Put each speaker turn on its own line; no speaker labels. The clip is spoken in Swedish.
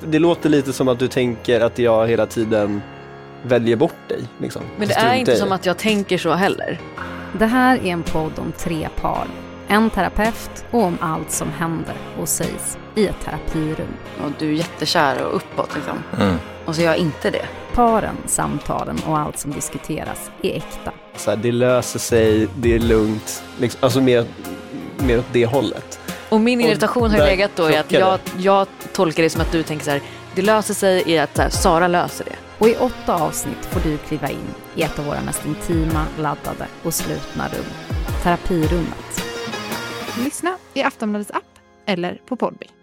det låter lite som att du tänker att jag hela tiden väljer bort dig. Liksom.
Men det är
Struntar
inte
i.
som att jag tänker så heller.
Det här är en podd om tre par, en terapeut och om allt som händer och sägs i ett terapirum.
Och du är jättekär och uppåt liksom.
Mm.
Och så är jag inte det.
Paren, samtalen och allt som diskuteras är äkta.
Så här, det löser sig, det är lugnt. Liksom, alltså mer, mer åt det hållet.
Och min
Och
irritation har ju
där
legat då i att
krockar
jag, jag tolkar det som att du tänker så här, det löser sig i att så här, Sara löser det.
Och i åtta avsnitt får du kliva in i ett av våra mest intima, laddade och slutna rum. Terapirummet.
Lyssna i Aftonbladets app eller på Podby.